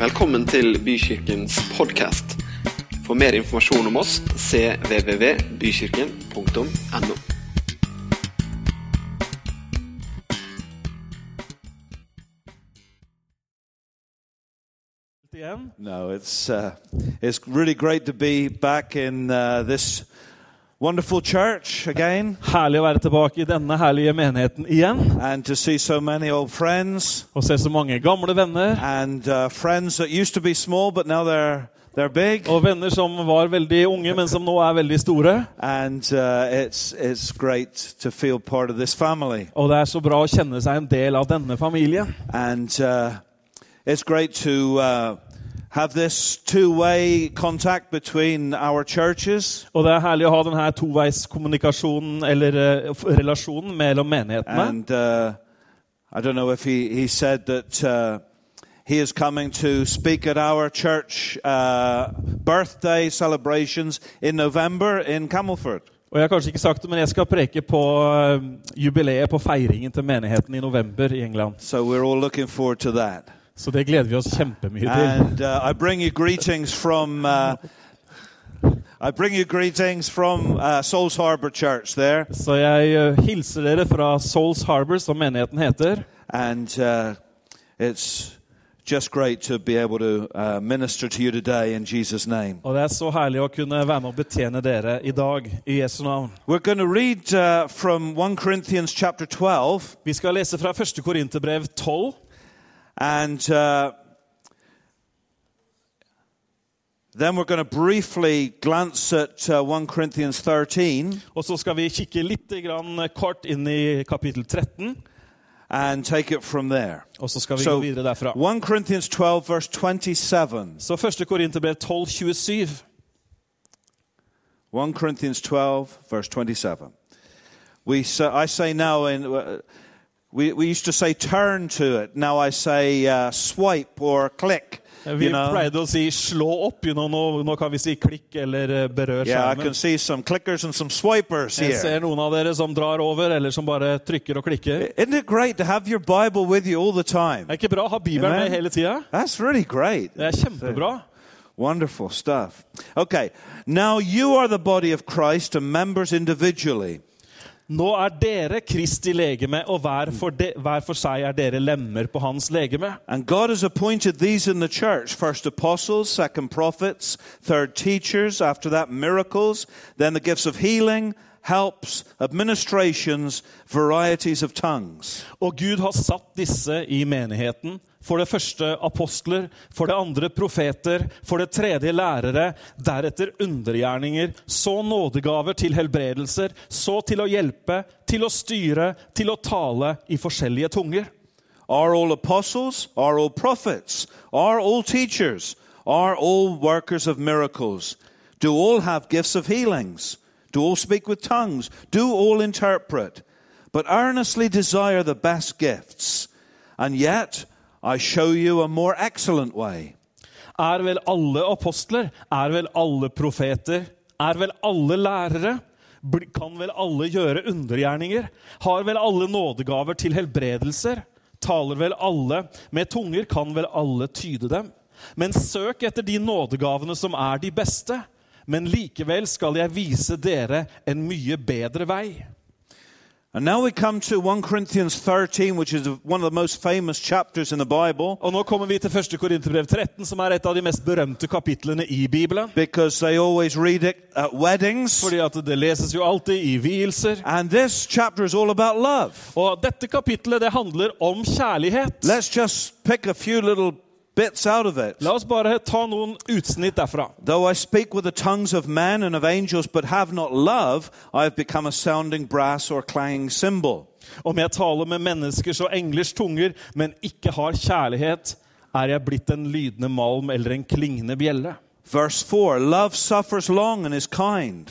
Velkommen til Bykirkens podkast. For mer informasjon om oss cvvvbykirken.no. again. No, it's uh, it's really great to be back in uh, this wonderful church again, Herlig å være tilbake i denne herlige menigheten igjen. and to see so many old friends Og se så mange gamle venner. and uh, friends that used to be small but now they're they're big, Og venner som var veldig unge, men som nå er veldig store. and uh, it's it's great to feel part of this family, Og det er så bra å kjenne seg en del av denne familien. and uh, it's great to. Uh, have this two-way contact between our churches Og det er herlig å ha denne toveiskommunikasjonen, eller eh, f- relasjonen, mellom menighetene. And uh, I don't know if he, he said that uh, he is coming to speak at our church uh, birthday celebrations in November in Camelford. Og jeg har kanskje ikke sagt det, men jeg skal preke på eh, jubileet, på feiringen til menigheten i november i England. So we're all looking forward to that. Så det gleder vi oss kjempemye til. And uh, I bring you greetings from. Uh, I bring you greetings from uh, Souls Harbour Church there, Så jeg eh, hilser dere fra Souls Harbour, som menigheten heter. and uh, it's just great to be able to uh, minister to you today in Jesus' name. Og det er så herlig å kunne være med og betjene dere i dag, i Jesu navn. We're going to read uh, from 1 Corinthians chapter 12, Vi skal lese fra 1. Korinterbrev 12. and uh, then we're going to briefly glance at uh, 1 Corinthians 13 Og så skal vi kikke litt grann kort inn i kapittel 13. and take it from there. Og så skal vi So, gå videre derfra. 1 Corinthians 12, verse 27. Så 1. Korinterbrev 12, 27. 1 Corinthians 12, verse 27. We say, I say now, in, uh, we, we used to say turn to it. Now I say uh, swipe or click. Vi you know? pleide å si 'slå opp'. You know, nå, nå kan vi si 'klikk' eller eh, 'berør Yeah, I can skjermen'. see some clickers and some swipers Jeg here. ser noen av dere som drar over, eller som bare trykker og klikker. Isn't it great to have your Bible with you all the time? Det er ikke bra å ha Bibelen med Amen. hele tida. That's really great. Det er kjempebra. Wonderful stuff. Okay, now you are the body of Christ and members individually. Nå er dere Kristi legeme, og hver for, de, hver for seg er dere lemmer på hans legeme. And God has appointed these in the church first apostles, second prophets, third teachers, after that miracles, then the gifts of healing, helps, administrations, varieties of tongues. Og Gud har satt disse i menigheten. For det første apostler, for det andre profeter, for det tredje lærere, deretter undergjerninger, så nådegaver til helbredelser, så til å hjelpe, til å styre, til å tale i forskjellige tunger. Are all apostles? Are all prophets? Are all teachers? Are all workers of miracles? Do all have gifts of healings? Do all speak with tongues? Do all interpret? But earnestly desire the best gifts. And yet, I show you a more excellent way. Er vel alle apostler? Er vel alle profeter? Er vel alle lærere? Bl- Kan vel alle gjøre undergjerninger? Har vel alle nådegaver til helbredelser? Taler vel alle med tunger? Kan vel alle tyde dem? Men søk etter de nådegavene som er de beste. Men likevel skal jeg vise dere en mye bedre vei. And now we come to 1 Corinthians 13, which is one of the most famous chapters in the Bible. Og nå kommer vi til 1. Korinterbrev 13, som er et av de mest berømte kapitlene i Bibelen. Because they always read it at weddings. Fordi at det leses jo alltid i vielser. And this chapter is all about love. Og dette kapitlet det handler om kjærlighet. Let's just pick a few little bits out of it. La oss bare ta noen utsnitt derfra. Though I speak with the tongues of men and of angels, but have not love, I have become a sounding brass or clanging cymbal. Om jeg taler med menneskers og englers tunger, men ikke har kjærlighet, er jeg blitt en lydende malm eller en klingende bjelle. Verse 4 Love suffers long and is kind.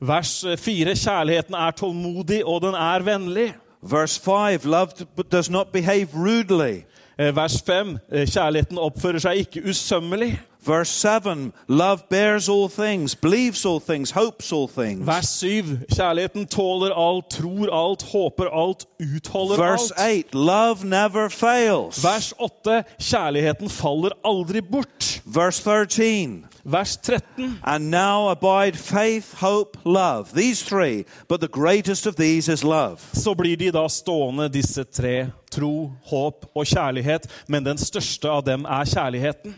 Vers 4. Kjærligheten er tålmodig, og den er vennlig. Verse 5 Love d- but does not behave rudely. Eh, Vers 5. Kjærligheten oppfører seg ikke usømmelig. Verse 7 Love bears all things, believes all things, hopes all things. Vers 7. Kjærligheten tåler alt, tror alt, håper alt, utholder Verse alt. 8 Love never fails. Vers 8. Kjærligheten faller aldri bort. Verse 13 Vers 13. And now abide faith, hope, love. These three, but the greatest of these is love. Så blir de da stående, disse tre. Tro, håp og kjærlighet. Men den største av dem er kjærligheten.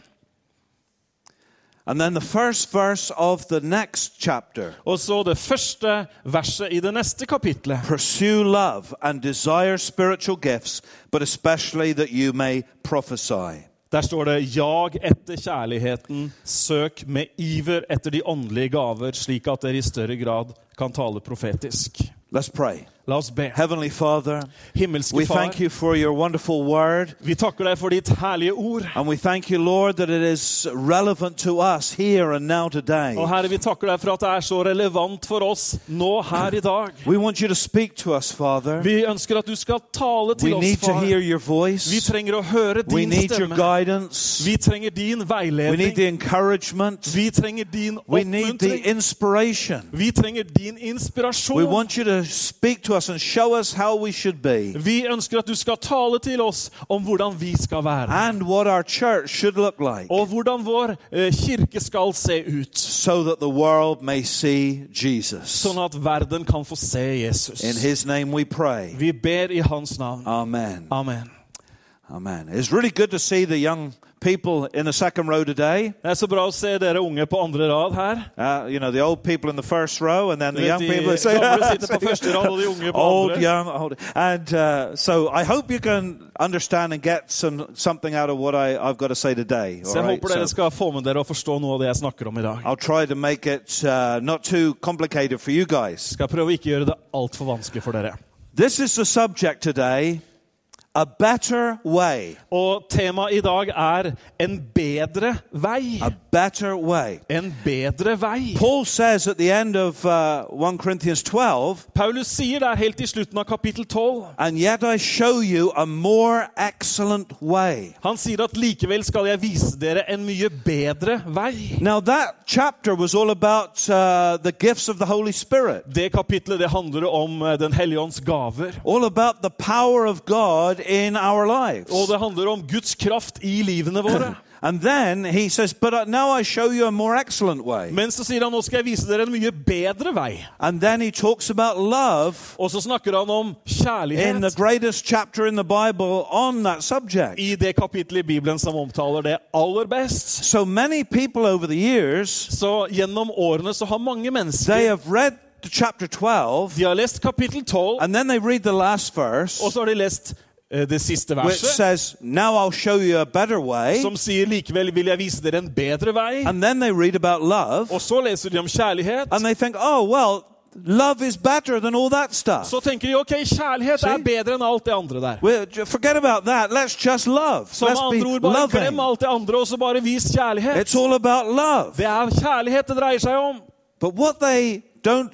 And then the first verse of the next chapter Og så det første verset i det neste kapitlet. Pursue love and desire spiritual gifts, but especially that you may prophesy. Der står det 'Jag etter kjærligheten, søk med iver etter de åndelige gaver', slik at dere i større grad kan tale profetisk. Let's pray. La oss be. Heavenly Father, Himmelske we Far, thank you for your wonderful word. vi takker deg for ditt herlige ord. And we thank you, Lord, that it is relevant to us here and now Og today. Herre, vi takker deg for at det er så relevant for oss nå her i dag. We want you to speak to us, Father. Vi ønsker at du skal tale We til oss, need to far. hear your Vi voice. trenger å høre We din need your stemme. guidance. Vi trenger din We need the veiledning. encouragement. Vi trenger din We need the oppmuntring. inspiration. Vi trenger din We inspirasjon. want you to speak to us and show us how we should be Vi ønsker at du skal tale til oss om hvordan vi skal være, and what our church should look like og hvordan vår eh, kirke skal se ut, so that the world may see Jesus. sånn at verden kan få se In Jesus. his name we pray. Vi ber i hans navn. Amen. Amen. Amen. It's really good to see the young people in the second row today. Det er så bra å se dere unge på andre rad her. Uh, you know, the old people in the first row, and then Du the young vet, people. De They say, gamle sitter på første rad, og de unge på old, andre. young, old. And uh, so I hope you can understand and get some something out of what I, I've got to say today. all Så jeg right? håper dere So Ah. skal få med dere og forstå noe av det jeg snakker om i dag. I'll try to make it uh, not too complicated for you guys. Skal jeg prøve å ikke gjøre det altfor vanskelig for dere. This is the subject today a better way. Og temaet i dag er en bedre vei. A better way. En bedre vei. Paul says at the end of uh, 1 Corinthians 12, Paulus sier der helt i slutten av kapittel 12 and yet I show you a more excellent way. Han sier at likevel skal jeg vise dere en mye bedre vei. Now, that chapter was all about uh, the gifts of the Holy Spirit, Det kapitlet det handler om eh, Den hellige ånds gaver. all about the power of God in our lives. Og det handler om Guds kraft i livene våre. And then he says, But uh, now I show you a more excellent way. Men så sier han nå skal jeg vise dere en mye bedre vei. And then he talks about love Og så snakker han om in the kjærlighet greatest chapter in the Bible on that subject. i det kapitlet i Bibelen som omtaler det aller best. So many people over the years, Så gjennom årene så har mange they mennesker have read chapter 12, De har lest kapittel 12, and then they read the last verse, og så har de lest eh, det siste which verset. says, Now I'll show you a better way. som sier likevel vil jeg vise dere en bedre vei. And then they read about love. Og så leser de om kjærlighet. and they think, oh, well, love is better than all that stuff. Så tenker de ok, kjærlighet See? er bedre enn alt det andre der. Well, j- forget about that. Let's just love. Så med Let's be andre ord, bare glem loving. alt det andre, og så bare vis kjærlighet. It's all about love. Det er kjærlighet det dreier seg om. But what they don't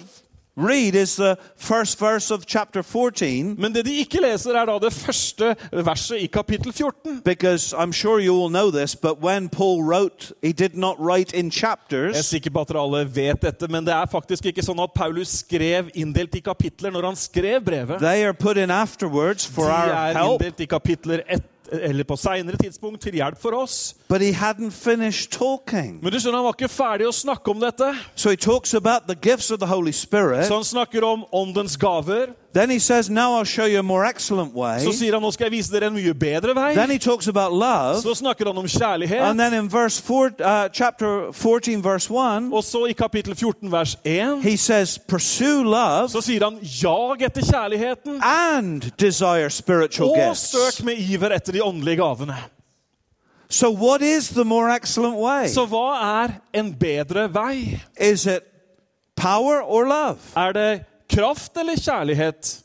read is the first verse of chapter 14, Men det de ikke leser, er da det første verset i kapittel 14. because I'm sure you all know this, but when Paul wrote, he did not write Jeg in er chapters. sikker på at dere alle vet dette, men det er faktisk ikke sånn at Paulus skrev inndelt i kapitler når han skrev brevet. They are put in afterwards De for our er help, inndelt i kapitler et, eller på seinere tidspunkt til hjelp for oss. but he hadn't finished talking. Men du skjønner, han var ikke ferdig å snakke om dette. So he talks about the gifts of the Holy Spirit. Så han snakker om åndens gaver. Then he says, Now I'll show you a more excellent way. Så sier han nå skal jeg vise dere en mye bedre vei. Then he talks about love. Så snakker han om And kjærlighet. then in verse four, uh, chapter 14, verse 1, Og så i kapittel 14 vers 1 he says, Pursue love så sier han jag etter kjærligheten and desire spiritual og gifts. søk med iver etter de åndelige gavene. So, what is the more excellent way? Så hva er en bedre vei? Is it power or love? Er det kraft eller kjærlighet?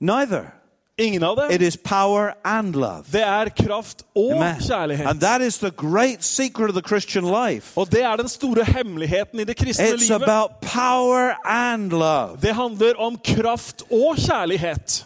Neither. Ingen av It dem. is power and love. Det er kraft og Amen. And kjærlighet. that is the great secret of the Christian life. Og det er den store hemmeligheten i det kristne It's livet. about power and love. Det handler om kraft og kjærlighet.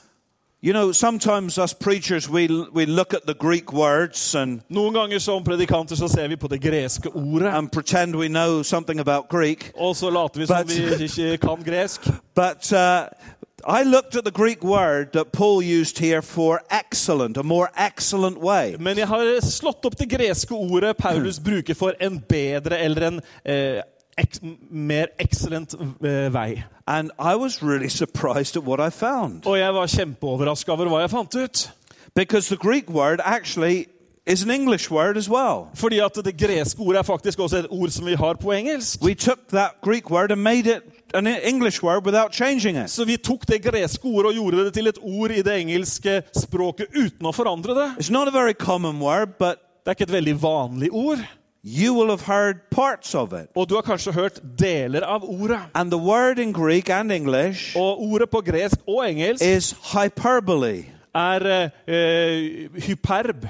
You know, sometimes us preachers, we, we look at the Greek words and, Noen ganger som predikanter så ser vi på det greske ordet, and pretend we know something about Greek. og så later vi som But- vi ikke kan gresk. But uh, I looked at the Greek word that Paul used here for excellent, a more excellent way. Men jeg har slått opp det greske ordet Paulus bruker for en bedre eller en eh, ek, mer excellent eh, vei. And I was really surprised at what I found. Og jeg var kjempeoverraska over hva jeg fant ut. Because the Greek word actually is an English word as well. Fordi at det greske ordet er faktisk også et ord som vi har på engelsk. We took that Greek word and made it an E, English word without changing it. Så vi tok det greske ordet og gjorde det til et ord i det engelske språket uten å forandre det. It's not a very common word, but Det er ikke et veldig vanlig ord, you will have heard parts of it. og du har kanskje hørt deler av ordet. And the word in Greek and English Og ordet på gresk og engelsk is hyperbole, er eh, eh, hyperb,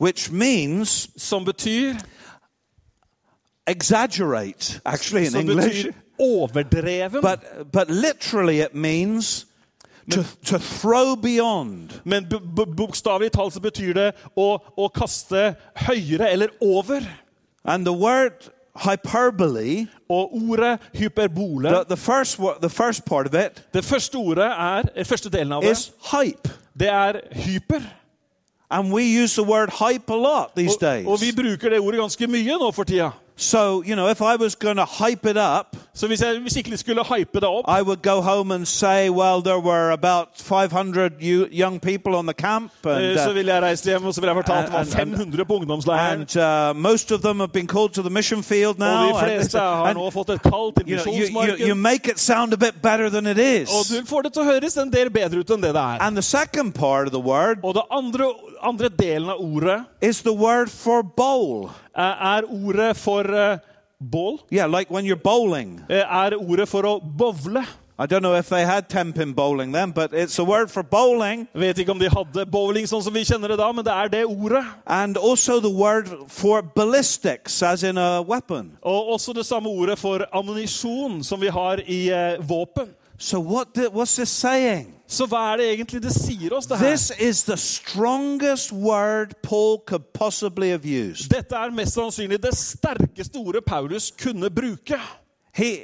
which means som betyr exaggerate, actually in Som English. betyr overdreven. But, but literally it means to, to throw beyond. men bu- bu- bokstavelig talt så betyr det å, å kaste høyere eller over. And the word hyperbole, Og ordet hyperbole the, the, first, wo- the first part of it, Det første ordet er, eh, første delen av det, is hype. det er hyper. And we use the word hype a lot these Og, og vi days. bruker det ordet ganske mye nå for tida. So, you know, if I was going to hype it up, Så hvis jeg skikkelig skulle hype det opp, I would go home and say, well, there were about 500 you, young people on the camp, eh, and, så uh, ville jeg reist hjem og så ville jeg fortalt at det var and- and- 500 på ungdomsleiren. and uh, most of them have been called to the mission field Og now. de and- fleste har and, nå fått et kall til altså. Ah, you, know, you, you, you misjonsmarken. make it sound a bit better than it Og is. du får det til å høres en del bedre ut enn det det er. And the second part of the word Og det andre, andre delen av ordet is the word for bowl. eh, er ordet for eh, bål. Yeah, like when you're bowling. eh, Er ordet for å bowle. I don't know if they had 10 pin bowling then, but it's a word for bowling. Vet ikke om de hadde bowling sånn som vi kjenner det da, men det er det ordet. And also the word for ballistics, as in a weapon. Og også det samme ordet for ammunisjon som vi har i eh, våpen. So, what did, what's this saying? Så hva er det egentlig det sier oss, det her? This is the strongest word Paul could possibly have used. Dette er mest sannsynlig det sterkeste ordet Paulus kunne bruke. He,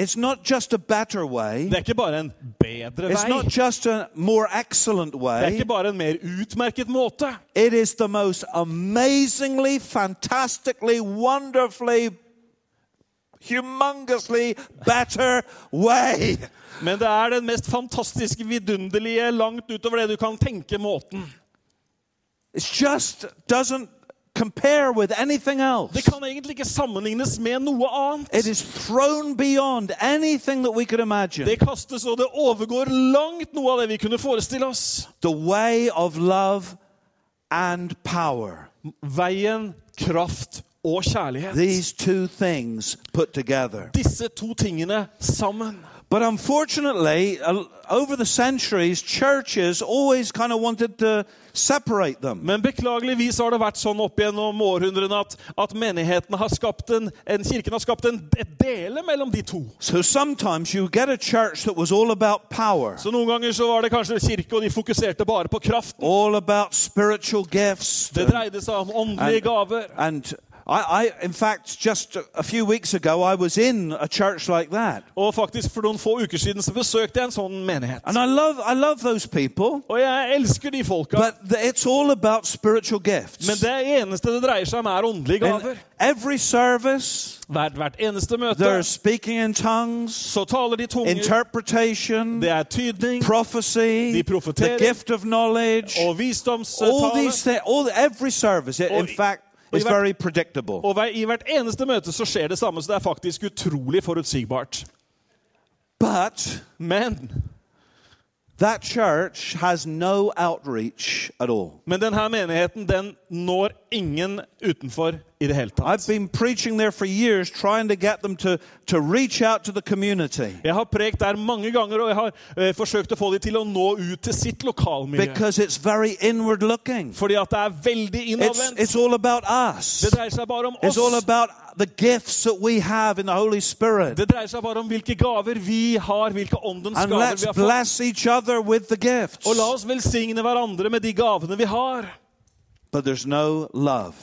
it's not just a better way, Det er ikke bare en bedre it's vei. not eh? just a more excellent Det er way. ikke bare en mer utmerket måte. It is the most amazingly, fantastically, wonderfully, humongously better way. Men det er den mest fantastiske, vidunderlige, langt utover det du kan tenke måten. It just doesn't compare with anything else. Det kan egentlig ikke sammenlignes med noe It annet. is thrown beyond anything that we could imagine. Det kastes, og det overgår langt noe av det vi kunne forestille oss. the way of love and power. Veien, kraft og kjærlighet. These two things put together. Disse to tingene sammen. But unfortunately, al- over the centuries, churches always kind of wanted to separate them. Men beklageligvis har det vært sånn opp gjennom århundrene at, at menigheten har skapt en, en kirken har skapt en, et dele mellom de to. So sometimes you get a church that was all about power, Så noen ganger så var det kanskje kirke, og de fokuserte bare på kraft. all about spiritual gifts. Det dreide seg om åndelige gaver. And I, I, in fact, just a- a few weeks ago, I was in a church like that. Og faktisk for noen få uker siden så besøkte jeg en sånn menighet. And I love, I love those people, Og jeg elsker de folka, but th- it's all about spiritual gifts. men det eneste det dreier seg om, er åndelige In gaver. every service, Hvert, hvert eneste møte there's speaking in tongues, så taler de tunger, interpretation, det er tydning prophecy, De profeterer. the gift of knowledge. og All visdomstale. these things, all, every service, i- in Og- fact, og i is hvert- very predictable. Og hver, i hvert eneste møte så skjer det samme, så det er faktisk utrolig forutsigbart. But Men, that church has no outreach at all. men denne menigheten den når ingen utenfor i det hele I've tatt. been preaching there for years, trying to get them to, to reach out to the community Jeg har prekt der mange ganger, og jeg har eh, forsøkt å få de til å nå ut til sitt lokalmiljø. because it's very inward looking. Fordi at det er veldig It's, innadvendt. it's all about us. Det dreier seg bare om It's all oss. about the gifts that we have in the Holy Spirit. Det dreier seg bare om hvilke gaver vi har, hvilke åndens And gaver let's vi har fått. bless each other with the gifts. Og la oss velsigne hverandre med de gavene vi har. But there's no love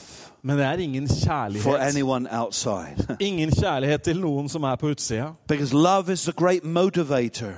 Men det er ingen for kjærlighet. anyone outside. Ingen kjærlighet til noen som er på utsida. because love is the great motivator.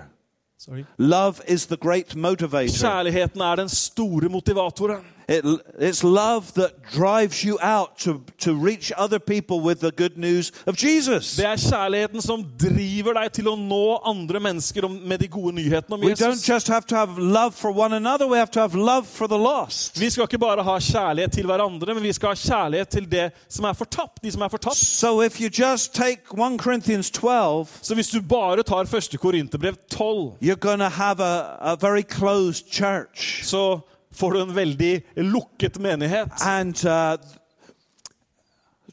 Sorry. Love is the great motivator. Kjærligheten er den store motivatoren. It, it's love that drives you out to, to reach other people with the good news of Jesus. Det er kjærligheten som driver deg til å nå andre mennesker om- med de gode nyhetene om We don't Jesus. just have to have love for one another, we have to have love for the lost. Vi skal ikke bare ha kjærlighet til hverandre, men vi skal ha kjærlighet til det som er fortapt, de som er fortapt. So if you just take 1 Corinthians 12, Så hvis du bare tar 1. Korinterbrev 12, you're going to have a, a very closed church. så får du en veldig lukket menighet. And uh,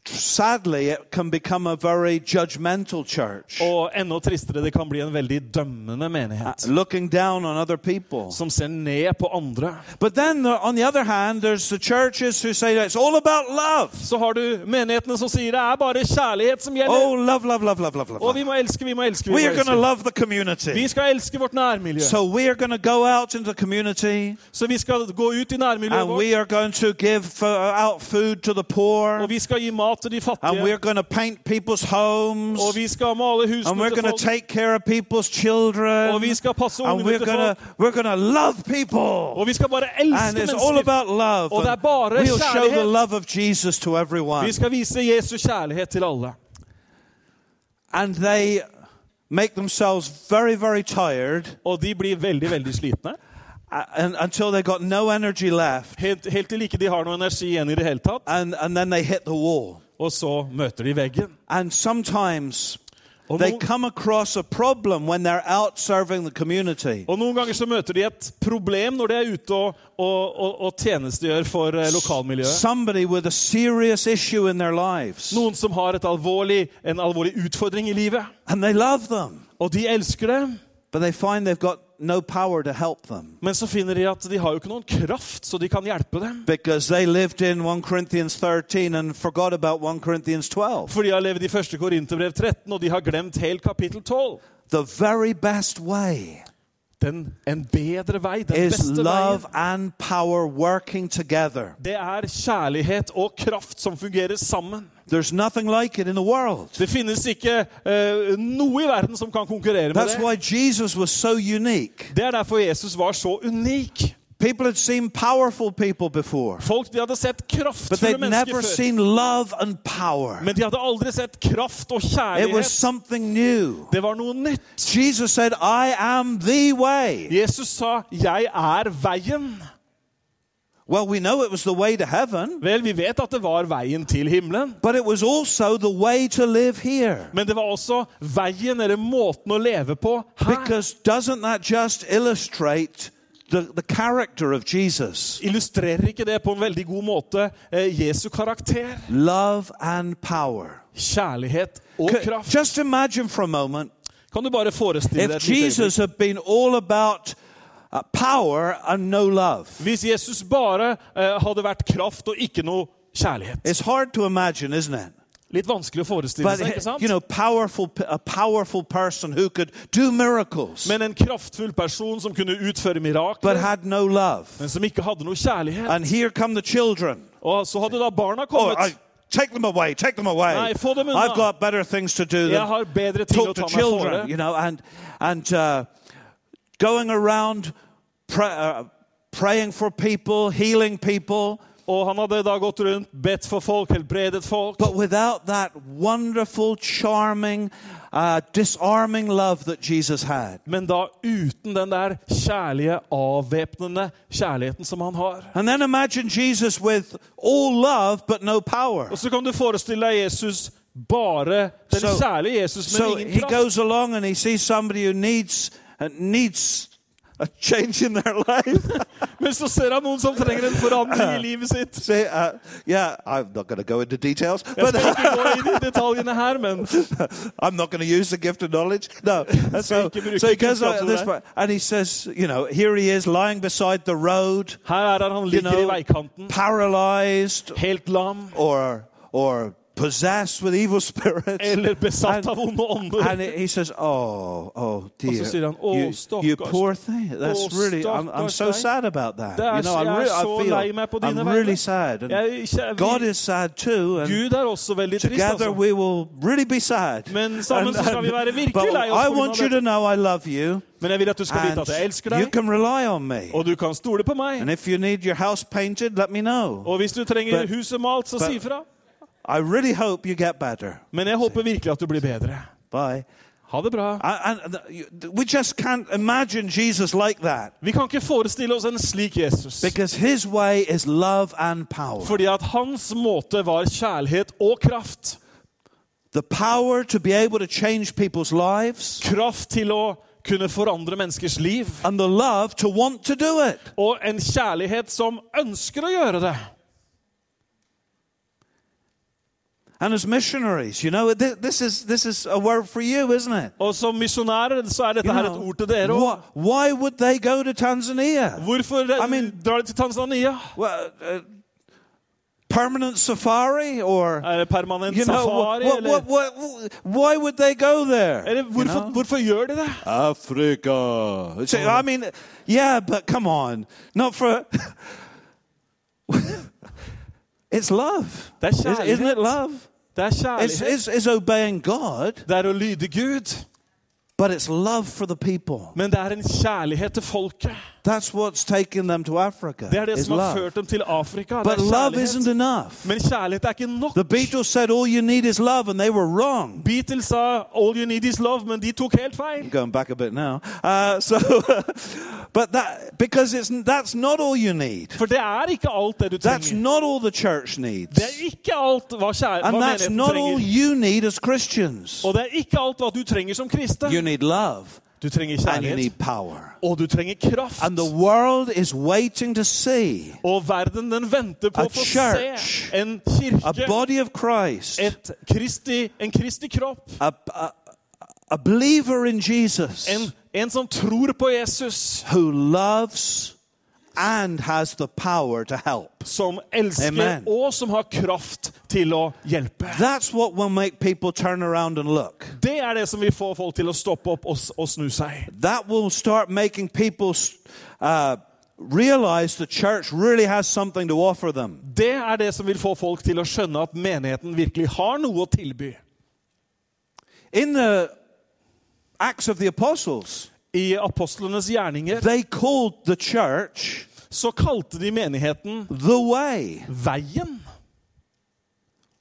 sadly, it can become a very judgmental church, Og enda tristere, det kan bli en veldig dømmende menighet. looking down on other people. Som ser ned på andre. But then, uh, on the other hand, there's the churches who say that it's all about love. Så har du menighetene som sier det er bare kjærlighet som Oh, gjelder. love, love, love, love, love, Og vi love. må elske, vi må elske, vi We må are going to elske. love the Vi community. skal elske vårt nærmiljø. So we are going to go out into the community Så vi skal gå ut i nærmiljøet and vårt, we are going to give uh, out food to the og poor vi skal gi mat til de and we fattige, are going to paint people's homes og vi skal male and husene we're til going to folk, take care of people's children Og vi skal passe and ungene we're til going to we're going to love people og vi skal bare and elske it's mennesker. all about love Og det er and bare we'll show the kjærlighet. love of Jesus to everyone Vi skal vise Jesu kjærlighet til alle. and they make themselves very very tired Og de blir veldig, veldig slitne. uh, and, until they got no energy left Helt, helt til ikke de har noe energi igjen i det hele tatt. and and then they hit the wall Og så møter de veggen. and sometimes Og they noen- come across a problem when they're out serving the community Og noen ganger så møter de et problem når de er ute og, og, og, og tjenestegjør for eh, lokalmiljøet. somebody with a serious issue in their lives Noen som har et alvorlig, en alvorlig utfordring i livet. and they love them Og de elsker det, but they find they've got no power to help them men så finner de at de har jo ikke noen kraft, så de kan hjelpe dem. because they lived in 1 Corinthians 13 and forgot about 1 Corinthians 12. For de har levd i 1. Korinterbrev 13, og de har glemt helt kapittel 12. The very best way Den, en bedre vei, den is beste love veien. and power working together. Det er kjærlighet og kraft som fungerer sammen. There's nothing like it in the world. Det finnes ikke eh, noe i verden som kan konkurrere med That's det. why Jesus was so unique. Det er derfor Jesus var så unik. People had seen powerful people before, Folk de hadde sett but kraftfulle they'd mennesker før. never seen love and power. Men de hadde aldri sett kraft og It was kjærlighet. something new. Det var noe nytt. Jesus said, I am the way. Jesus sa 'Jeg er veien'. Well, we know it was the way to heaven. Vel, vi vet at det var veien til himmelen. But it was also the way to live here. Men det var også veien eller måten å leve på her. Because doesn't that just illustrate the, the character of Jesus? Illustrerer ikke det på en veldig god måte eh, Jesu karakter? Love and power. Kjærlighet og C- kraft. Just imagine for a moment Kan du bare forestille deg if et lite øyeblikk? Jesus had been all about uh, power and no love. Hvis Jesus bare eh, hadde vært kraft og ikke noe kjærlighet. It's hard to imagine, isn't it? Litt vanskelig å forestille But seg, ikke sant? you know, powerful p- a powerful person who could do miracles Men en kraftfull person som kunne utføre but mirakler, had no love. men som ikke hadde noe kjærlighet. And here come the children. Og så hadde da barna Oh, I, kommet. take them away, take them away. Nei, få dem unna. I've got better things to do Jeg than har bedre ting å talk ta to meg for. children, you know, and, and uh, going around pra- uh, praying for people, healing people. Og han hadde da gått rundt, bedt for folk, helbredet folk. But without that wonderful, charming, uh, disarming love that Jesus had. Men da uten den der kjærlige, avvæpnende kjærligheten som han har. And then imagine Jesus with all love but no power. Og så kan du forestille deg Jesus bare den So- kjærlige Jesus, men So ingen he kraft. goes along and he sees somebody who needs, uh, needs a change in their life. Men så ser han noen som trenger en forandring i livet sitt. See, uh, yeah, I'm not going to go into details, Jeg but skal ikke gå inn i detaljene her, men I'm not going to use the gift of knowledge. No. And so, ikke bruke so he goes kunnskap like til this det. part, and he says, you know, here he is lying beside the road, her er han, han you ligger i know, veikanten, paralyzed helt lam. or or possessed with evil spirits. eller besatt And- av onde ånder. And he says, "Oh, oh dear, så sier han, "Å, you, you stakkars- poor thing. That's Å, really. I'm, I'm so stakkars deg. sad about that. Det er You know, så- I'm, jeg er re- I så feel, lei meg på dine I'm vegne. really sad. And Jeg, kjæ- God vi- is sad too. And Gud er også veldig trist, together altså. we will really be sad. Men sammen så skal vi være virkelig but lei oss I på grunn want av you dette. to know I love you, Men jeg vil at du skal vite and at jeg elsker you deg, can rely on me. og du kan stole på meg. And if you need your house painted, let me know. Og hvis du trenger But- huset malt, så but- si fra. I really hope you get better. Men jeg håper virkelig at du blir bedre. Bye. Ha det bra. I, and th- you- we just can't imagine Jesus like that. Vi kan ikke forestille oss en slik Jesus. Because his way is love and power. Fordi at hans måte var kjærlighet og kraft. the power to be able to change people's lives Kraft til å kunne forandre menneskers liv. and the love to want to do it. Og en kjærlighet som ønsker å gjøre det. And as missionaries, you know, th- this is, this is a word for you, isn't it? Og som misjonærer så er You dette her know, et ord til dere òg. wha- why would they go to Tanzania? Hvorfor eh, I mean- drar de til Tanzania? Well, uh, permanent safari or, Er det permanent you know, safari, wha- wha- eller, wha- wha- why would they go there? eller you hvorfor, know? hvorfor gjør de det? Africa. So, I mean, yeah, but come on, not for. it's love. That's Is- shy, Isn't isn't it? it love? Det er It's, kjærlighet. it's, it's obeying God, Det er å lyde Gud. but it's love for the people. Men det er en kjærlighet til folket. That's what's taking them to Africa. Det er det is som har love. ført dem til Afrika. Det But er love isn't kjærlighet. enough. Men kjærlighet er ikke nok. The Beatles said all you need is love, and they were wrong. Beatles sa 'All you need is love', men de tok helt feil. I'm going back a bit now. Uh, so, but that because it's that's not all you need. For det er ikke alt det du That's trenger. not all the church needs. Det er ikke alt hva, kjær hva And that's menigheten not all trenger. you need as Christians. Og det er ikke alt hva du trenger som You kristen. need love Du trenger and you kjærlighet, need power. og du trenger kraft. And the world is waiting to see Og verden den venter på A å få church. se en a kirke, body of Christ, a, et Kristi, en Kristi kropp, a, a believer in en, Jesus en som tror på Jesus, who loves and has the power to help. som elsker Amen. og som har kraft til å hjelpe. That's what will make people turn around and look. Det er det som vil få folk til å stoppe opp og, s- og snu seg. That will start making people uh, realize the church really has something to offer them. Det er det som vil få folk til å skjønne at menigheten virkelig har noe å tilby. In the Acts of the Apostles, I apostlenes gjerninger they called the church så kalte de menigheten the way. Veien.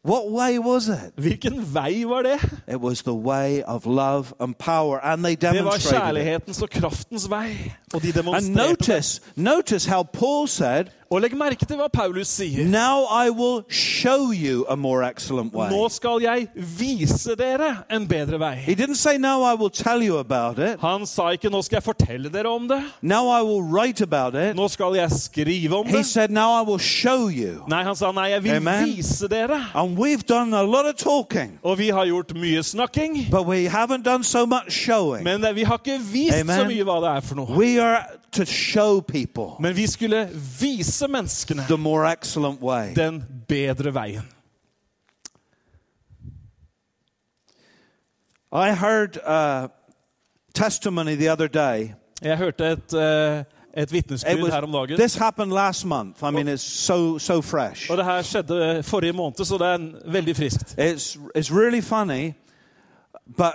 What way was it? Hvilken vei var det? It was the way of love and power, and they Det var demonstrated it. kjærlighetens og kraftens vei. Og de And demonstrerte det. notice, notice how Paul said, Og legg merke til hva Paulus sier. "Now I will show you a more excellent Nå way." skal jeg vise dere en bedre vei. He didn't say, "Now I will tell you about it." Han sa ikke 'nå skal jeg fortelle dere om det', Now I will write about it. nå skal jeg skrive om He det. said, "Now I will show you." Nei, han sa 'nei, jeg vil Amen. vise dere'. And we've done a lot of talking, Og vi har gjort mye snakking, but we haven't done so much showing. men det- vi har ikke vist så Amen. mye hva det er for noe. We are to show people Men vi skulle vise menneskene the more excellent way. den bedre veien. I heard uh, testimony the other day. Jeg hørte et, eh, et It vitnesbyrd was- her om dagen. this happened last month. I mean, it's so so fresh. Og det her skjedde forrige måned, så det er veldig friskt. It's it's really funny, but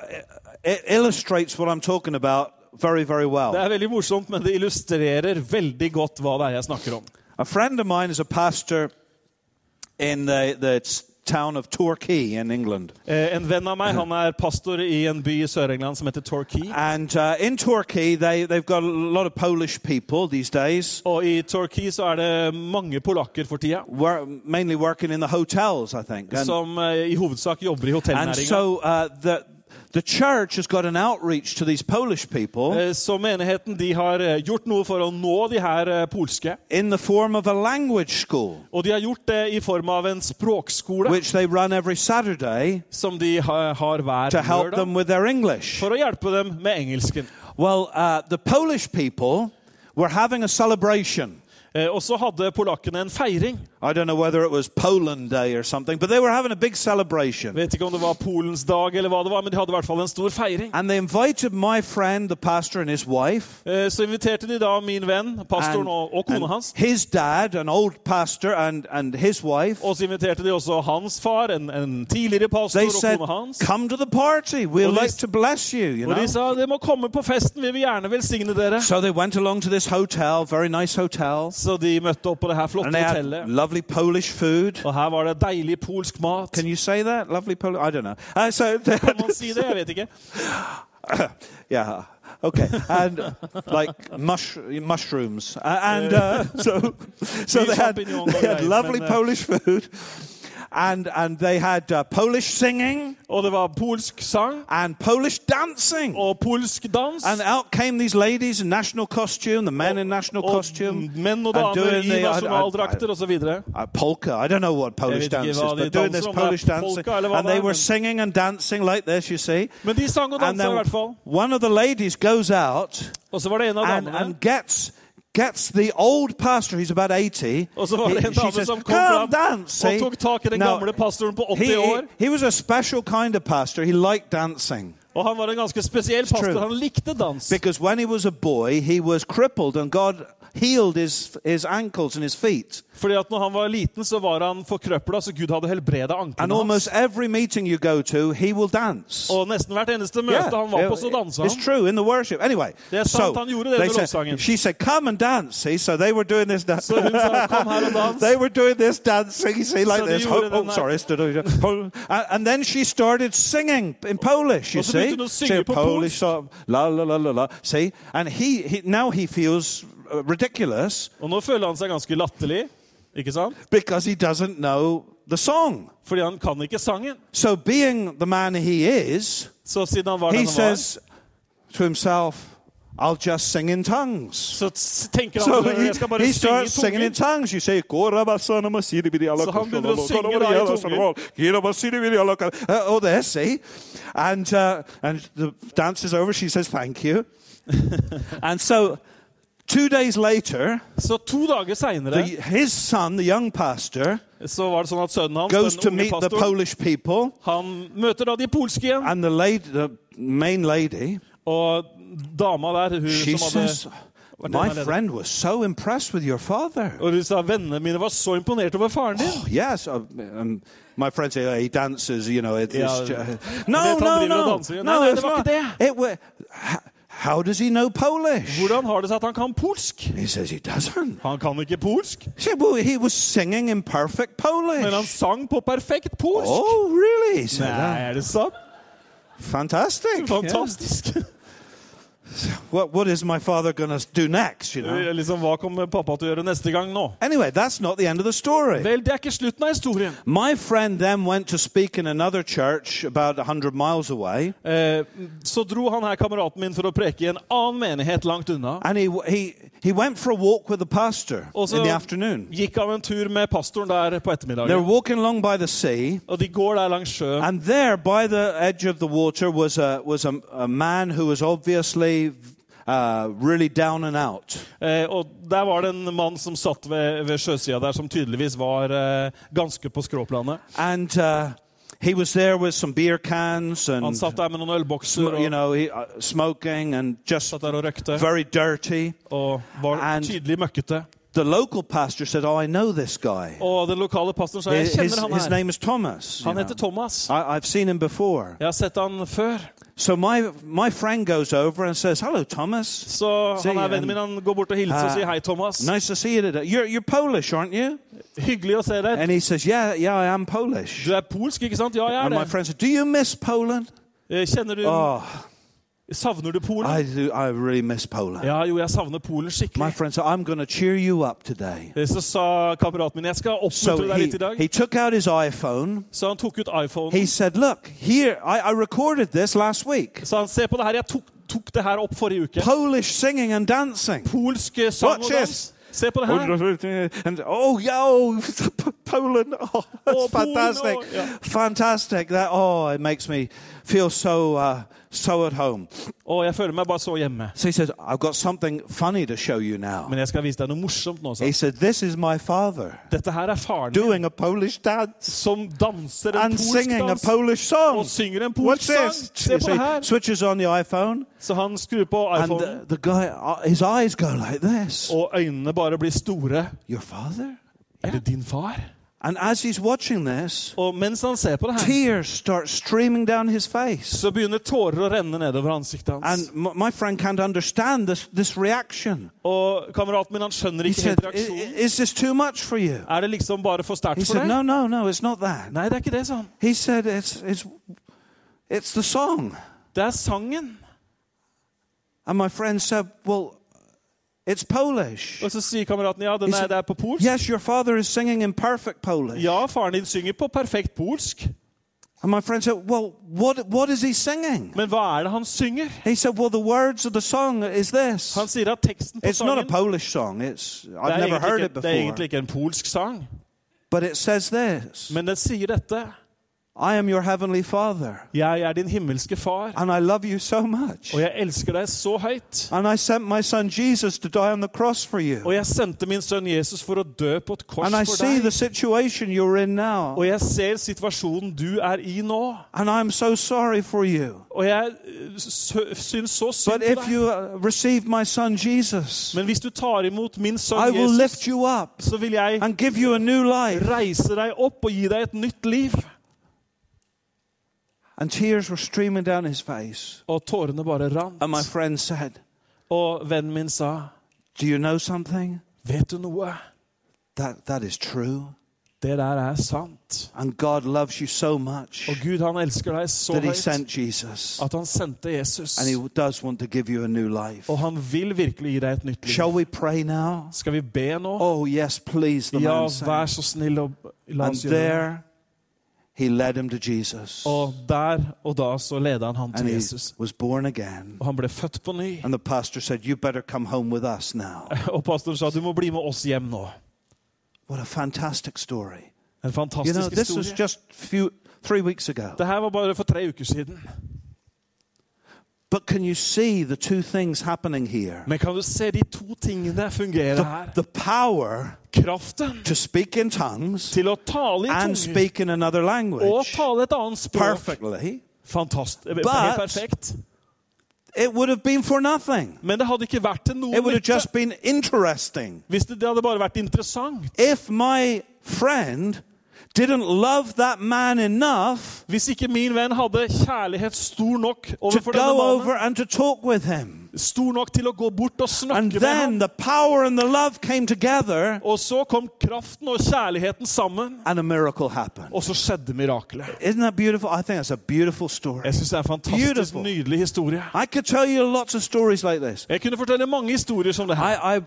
it, it illustrates what I'm talking about very very Det well. er veldig morsomt, men det illustrerer veldig godt hva det er jeg snakker om. A friend of mine is a pastor in the the s- town of Torquay in England, Eh, En venn av meg han er pastor i en by i Sør-England som heter Torquay. and uh, in Torquay they they've got a lot of Polish people these days. Og i Torquay så er det mange polakker for tida Wor- mainly working in the hotels, I think. And- som eh, i hovedsak jobber i And hotellnæringa. so uh, the the church has got an outreach to these Polish people Eh, Så menigheten de har eh, gjort noe for å nå de her eh, polske. in the form of a language school, Og de har gjort det i form av en språkskole which they run every Saturday som de ha- har hver to help them lørdag with their English. for å hjelpe dem med engelsken. Well, uh, the Polish people were having a celebration. Eh, Og så hadde polakkene en feiring. I don't know whether it was Poland Day or something, but they were having a big celebration. Vet ikke om det var Polens dag, eller hva det var, men de hadde i hvert fall en stor feiring. And they invited my friend, the pastor, and his wife. Eh, Så inviterte de da min venn, pastoren og, og kona and hans. his dad, an old pastor, and, and his wife. Og så inviterte de også hans far, en, en tidligere pastor, They og said, kona hans. Come to the party. We'd Og de- like to bless you, you Og de know. sa dere må komme på festen, vi vil gjerne velsigne dere. So they went along to this hotel, very nice hotel. Så de møtte opp på det her flotte And they had hotellet. lovely Polish food. Og her var det deilig polsk mat. Can you say that? Lovely Polish? I don't know. Uh, so they Kan man si det? Jeg vet ikke. yeah. Okay, and uh, like mush, mushrooms, Uh, and uh, so so they had, champignon they had guys, lovely men, uh, Polish food, and and they had uh, Polish singing Og det var polsk sang and Polish dancing, og polsk dans. and out came these ladies in national costume, the men in national Og costume, menn og and damer i I- I- nasjonaldrakter osv. uh, polka. I don't know what Polish vet ikke dance is, hva de but doing this danser om, det er Polish dancing, polka eller hva and det they er, were men- singing and dancing like this. You see, Men de sang og and dansa i then hvert fall. one of the ladies goes out. Og så var det en av and, damene. and gets gets the old pastor who's about 80 Og så var det he- en she dame says, som kom come fram dance see?" og tok tak i den Now, gamle pastoren på 80 he, he, år. he was a special kind of pastor he liked dancing Og han var en ganske spesiell true. pastor. Han likte dans. because when he was a boy he was crippled and god healed his his ankles and his feet Fordi at når han var liten, så var han forkrøpla, så Gud hadde helbreda and anklene hans. almost every meeting you go to he will dance Og nesten hvert eneste Yeah, møte han var på, så dansa it's han. true in the worship. Anyway, Det er sant, han gjorde det they under said- lovsangen. she said, "Come and dance." See, so they were doing this. dance. Så hun sa, "Kom her og dans." they were doing this dancing. See, like Så de this. gjorde oh, den oh, der- sorry, it's- and, and then she started singing in Polish. You Og så begynte see, hun å She synge had på Polish song, la la la la la. See, and he, he now he feels uh, ridiculous Og nå føler han seg ganske latterlig, ikke sant? because he doesn't know the song. Fordi han kan ikke sangen. So, being the man he is, Så siden han var den he han var, says to himself, "I'll just sing in tongues." så s- tenker han So at he, jeg skal bare he synge starts i singing in tungen. tongues. You say, Så han begynner å synge da i tungen. uh, all there, see? And, uh, and the dance is over. She says, thank you. and so two days later, Så to dager the, seinere his son, the young pastor, så var det sånn at sønnen hans, goes to den unge meet the pastoren, Polish people. han møter da de polske igjen. And the, lady, the main lady, Og dama der, hun she som says, hadde my friend was so impressed with your father. Og hun sa vennene mine var så imponert over faren din. Yes, uh, um, my friend said uh, he dances. You know, it, it's Yeah. ju- They no, told no, him to no, dance, you know, no, no, it's they were not. there. It wa- h- how does he know Polish? Hvordan har det seg at han kan polsk? He says he doesn't. Han kan ikke polsk, He said, well, he was singing in perfect men han Polish. sang på perfekt polsk. Oh, really? He said, Nei, er det sant? "Oh, fantastic. Fantastisk. Yeah. What, what is my father going to do next? You know. Liksom, Hva kommer pappa til å gjøre neste gang nå? Anyway, that's not the end of the story. Vel, det er ikke slutten av historien. My friend then went to speak in another church about 100 miles away. Eh, så dro han her kameraten min for å preke i en annen menighet langt unna. And he, he, he went for a walk with the pastor Og så in the afternoon. gikk han en tur med pastoren der på They were ettermiddagen. walking along by the sea, Og de går der langs sjøen. and there, by the edge of the water, was a, was a, a man who was obviously uh, really down and out. Eh, og der var det en mann som satt ved, ved sjøsida der, som tydeligvis var eh, ganske på skråplanet. And uh, he was there with some beer cans and, Han satt der med noen ølbokser og Mm. you know, he, uh, smoking and just satt der og røkte. very dirty. Og var And- tydelig møkkete. The local pastor said, Oh, I know this guy. Og den lokale pastoren sa jeg His, his, kjenner han his her. name Ah. is Thomas. you Han know. heter Thomas. I, I've seen him before. Jeg har sett han før. So my, my friend goes over and says, Hello, Thomas. Så See, han er vennen min. Han går bort og hilser og Ah. sier hei, Thomas. Nice to see you today. You're, you're Polish, aren't you? Hyggelig å se deg. And he says, Yeah, yeah, I am Polish. Du er polsk, ikke sant? Ja, jeg And er my det. friend said, Do you miss Poland? Eh, Kjenner du Oh, Savner du Polen? I do. I really miss Poland. Ja, jo, jeg savner Polen My skikkelig. friend said, I'm going to cheer you up today. Eh, Så sa kameraten min jeg skal So oppmuntre deg he, litt i dag. he took out his iPhone. Så han tok ut iPhonen. He said, Look, here, I, I recorded this last week. Så han ser på det her. Jeg tok, tok det her opp forrige uke. Polish singing and dancing. Polsk eh, sang Watch og dans. this. Se på det her. And oh, yo, Poland! Oh, that's Oh, Poland, fantastic, oh, yeah. fantastic. That oh, it makes me feel so uh, so at home. Og jeg føler meg bare så hjemme. So he said, I've got something funny to show you now. Men jeg skal vise deg noe morsomt nå. He sa han. said, This is my father Dette her er faren min doing a Polish dance som danser en and polsk singing a dans. Polish song. Og synger en What's polsk this? sang. Se på det See, her. switches on the iPhone, Så han skrur på and uh, iPhonen, the, the guy, uh, his eyes go like this. og øynene bare blir store. Your father? Er det din far? And as he's watching this, Og mens han ser på det her, tears start streaming down his face. så begynner tårer å renne nedover ansiktet hans. And m- my friend can't understand this, this reaction. Og kameraten min han skjønner He ikke said, helt "I- reaksjonen. Is this too much for you? Er det liksom bare for sterkt He for said, deg? No, no, no, it's not that. Nei, det er ikke det, sa han. He said, It's, it's, it's the song. Det er sangen. And my friend said, Well, it's Polish. Og så sier kameraten ja, den He er, said- det er på polsk. Yes, your father is singing in perfect Polish. Ja, faren din synger på perfekt polsk, And my friend said, Well, what, what is he singing? men hva er det han synger? He said, Well, the words of the song is this. Han sier at teksten på It's not a sangen Polish song. It's det I've er, never heard egentlig it ikke, det er egentlig before. ikke en polsk sang, But it says this men den sier dette. I am your heavenly father, Jeg er din himmelske far, and I love you so much. og jeg elsker deg så høyt. And I sent my son Jesus to die on the cross for Og you. jeg sendte min sønn Jesus for å dø på et kors And I see for the deg. situation you're in now. Og jeg ser situasjonen du er i nå, And I'm so sorry for you. og jeg øh, sø- syns så synd But på if deg. you uh, receive my son Jesus, Men hvis du tar imot min I sønn will Jesus, lift you up så vil jeg and give you a new life. reise deg opp og gi deg et nytt liv. And tears were streaming down his face. Og tårene bare rant. And my friend said, Og vennen min sa, Do you know something? vet du noe? That, that is true. Det der er sant. And God loves you so much Og Gud, han elsker deg så that He høyt sent Jesus. at han sendte Jesus. And He does want to give you a new life. Og han vil virkelig gi deg et nytt Shall liv. we pray now? Skal vi be nå? Oh, yes, please, the Ja, man vær said. så snill og la And oss gjøre det. there He led him to Jesus. Og der og da så ledet han ham And til he Jesus. was born again. Og han ble født på ny. And the pastor said, You better come home with us now. Og pastoren sa, du må bli med oss hjem nå. What a fantastic story. En You know, fantastisk this was historie. just few, three weeks ago. Det her var bare for tre uker siden. But can you see the two things happening here? Men kan du se de to tingene fungere The, her? the power Kraften to speak in tongues Oh, til å tale i tunger and speak in another og language tale et annet språk. perfectly, Fantastisk. Helt But- perfekt. it would have been for nothing. Men det hadde ikke vært til noe It would have nytte just been interesting. hvis det, det hadde bare vært interessant. If my friend didn't love that man enough Hvis ikke min venn hadde kjærlighet stor nok to overfor denne go over mannen, and to talk with him. stor nok til å gå bort og And snakke med then ham, the power and the love came together og så kom kraften og kjærligheten sammen, and a miracle happened. og så skjedde mirakelet. Isn't that beautiful? I think that's a beautiful story. Jeg syns det er en fantastisk Beautiful. nydelig historie. I could tell you lots of stories like this. Jeg kunne fortelle mange historier som det her. I, I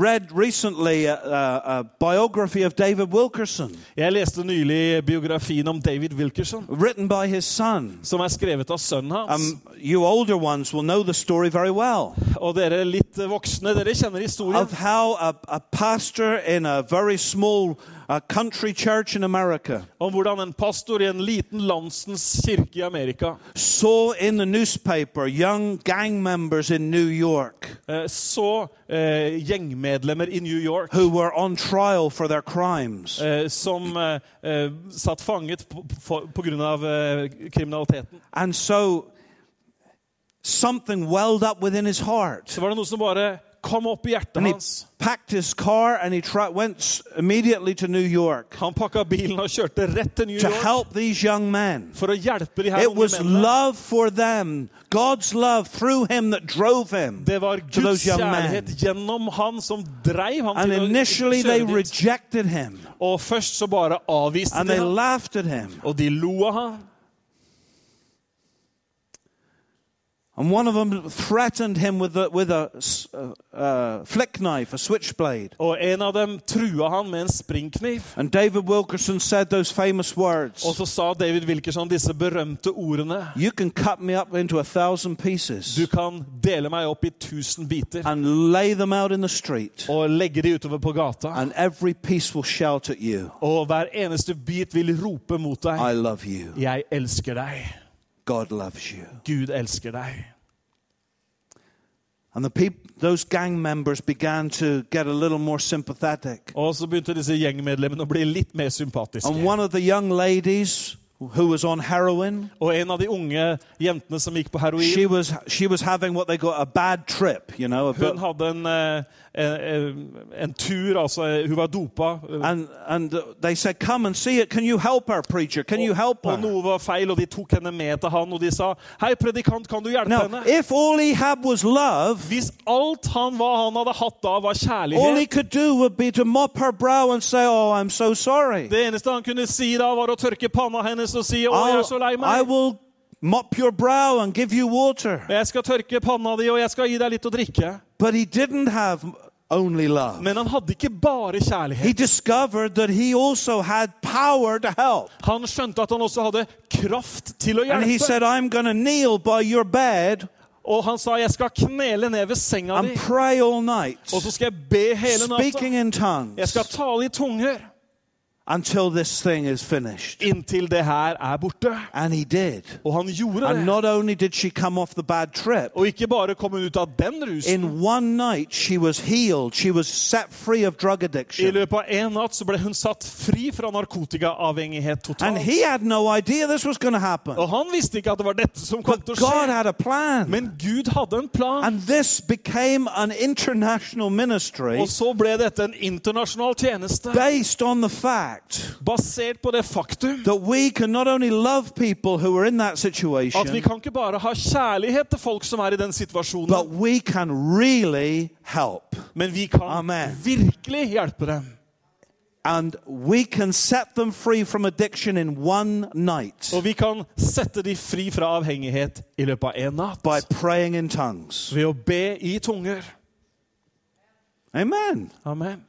read recently a, a, a biography of David Wilkerson, Jeg leste nylig biografien om David Wilkerson, written by his son. som er skrevet av sønnen hans. Um, you older ones will know the story very well Og dere litt voksne, dere kjenner historien of how a, a pastor in a very small uh, country church in America om hvordan en pastor i en liten landsens kirke i Amerika saw in the newspaper young gang members in New York eh, så eh, gjengmedlemmer i New York who were on trial for their crimes. eh, som eh, eh, satt fanget på- for- på grunn av eh, kriminaliteten. And so something welled up within his heart. Så var det noe som bare kom opp i hjertet And he hans. packed his car and he tra- went s- immediately to New York Han pakka bilen og kjørte rett til New to York help these young men. for å hjelpe de her It unge was mennene. love for them, God's love through him that drove him Det var to Guds those young kjærlighet men. gjennom han som dreiv han And til å initially they kjøre dit. rejected him Og først så bare avviste and de they ham, laughed at him. og de lo av ham. And one of them threatened him with a, with a s- uh, uh, flick knife, a switchblade. Og en av dem trua han med en springkniv. And David Wilkerson said those famous words Og så sa David Wilkerson disse berømte ordene. You can cut me up into a thousand Du pieces kan dele meg opp i tusen biter and lay them out in the street. og legge de utover på gata. and every piece will shout at you, Og hver eneste bit vil rope mot deg. I love you. Jeg elsker deg. God loves you. Gud elsker deg. And the peop- those gang members began to get a little more sympathetic. Og så begynte disse gjengmedlemmene å bli litt mer sympatiske. And one of the young ladies who was on heroin, Og en av de unge jentene som gikk på she heroin, was she was having what they got a bad trip, you know, a bit, hun hadde en, eh, en, en- en tur, altså eh, hun var dopa. eh, and and they said, "Come and see it. Can you help her, preacher? Can you help Og her?" noe var feil, og de tok henne med til han, og de sa Hei, predikant, kan du hjelpe Now, henne? if all he had was love, Hvis alt han, hva han hadde hatt da, var all he kjærlighet could do would be to mop her brow and say, "Oh, I'm so sorry. Det eneste han kunne si da, var å tørke panna hennes og si 'Å, jeg er så lei I'll, I meg'. will mop your brow and give you water." Jeg skal tørke panna di, og jeg skal gi deg litt å drikke. But he didn't have only love. Men han hadde ikke bare He kjærlighet. discovered that he also had power to help. Han skjønte at han også hadde kraft til å And he hjelpe. said, I'm going to kneel by your bed Og han sa 'Jeg skal knele ned ved senga and di, pray all night, og så skal jeg be hele speaking natta'. in Jeg skal tongues tale i tunger until this thing is finished. inntil det her er borte. And he did. Og han gjorde And det. not only did she come off the bad trip, Og ikke bare kom hun ut av den rusen. in one night she was healed. She was set free of drug I addiction. løpet av én natt så ble hun satt fri fra narkotikaavhengighet And totalt. he had no idea this was going to happen. Og han visste ikke at det var dette som kom But til å God skje. had a plan. Men Gud hadde en plan, And this became an international ministry og så ble dette en internasjonal tjeneste based on the fact basert på det faktum that we can not only love people who are in that at vi situation, kan ikke bare ha kjærlighet til folk som er i den but situasjonen, we can really help. men vi kan Amen. virkelig hjelpe dem. And we can set them free from addiction in one night Og vi kan sette de fri fra avhengighet i løpet av én by natt praying in tongues. ved å be i tunger. Amen. Amen.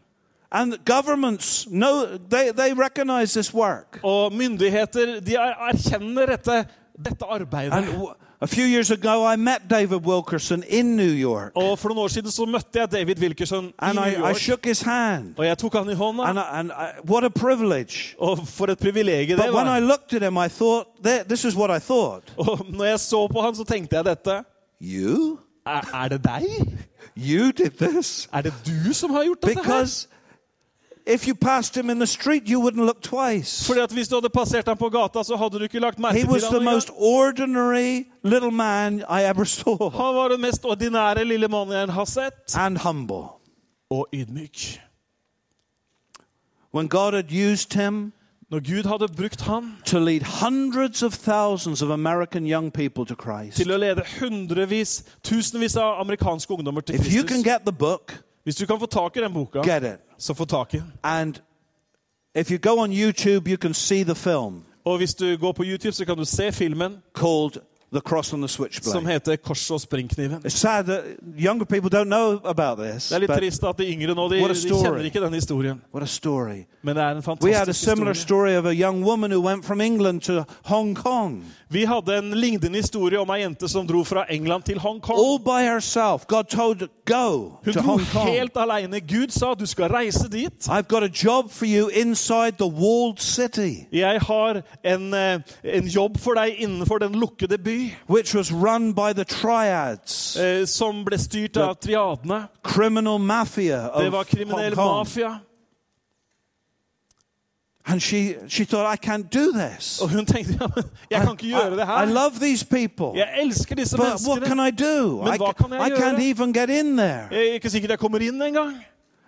And governments know they, they recognize this work. Og myndigheter de er- erkjenner dette, dette And arbeidet. w- a few years ago, I met David Wilkerson in New York, Og for noen år siden så møtte jeg David Wilkerson i and Oh. New I, I York. Ah. shook his hand. Og jeg tok han i hånda. And, I, and I, what a privilege. Og for et privilegium det But when I var. looked at him, I thought, th- this is what I thought. Og når jeg så på han, så tenkte jeg dette. You? Er, er det deg? You did this? Er det du som har gjort dette her? Because if you passed him in the street, you wouldn't look twice. Fordi at Hvis du hadde passert ham på gata, så hadde du ikke lagt merke He til was ham. the engang. most ordinary little man I ever saw, Han var den mest ordinære lille mannen jeg har sett. and humble. Og ydmyk. When God had used him Når Gud hadde brukt han to lead hundreds of thousands of American young people to Christ. til å lede hundrevis, tusenvis av amerikanske ungdommer til If you can Kristus get the book, Hvis du kan få tak i den boka, get it. så få tak i den. And if you go on YouTube, you can see the film Og hvis du går på YouTube, så kan du se filmen called The Cross and the som Switchblade. heter 'Korset og springkniven'. It's sad that younger people don't know about this. Det er litt but trist at de yngre nå de, What a de kjenner story. ikke den historien. what a story. Men det er en We had a fantastisk similar historie. story of a young woman who went from England to Hong Kong Vi hadde en lignende historie om ei jente som dro fra England til Hongkong. all by herself. God told her, go Hun Oh, to dro Hong Kong. helt aleine. Gud sa du skal reise dit. I've got a job for you inside the walled city, Jeg har en, eh, en jobb for deg innenfor den lukkede by, which was run by the triads, eh, som ble styrt av triadene. criminal mafia Det of var kriminell Hong Kong. mafia. And she, she thought, I can't do this. Og hun tenkte ja, men jeg kan ikke gjøre det I her. love these people. Jeg elsker disse But what can menneskene. I do? Men I, hva kan jeg I can't gjøre? even get in there. Jeg er ikke sikkert jeg kommer inn engang.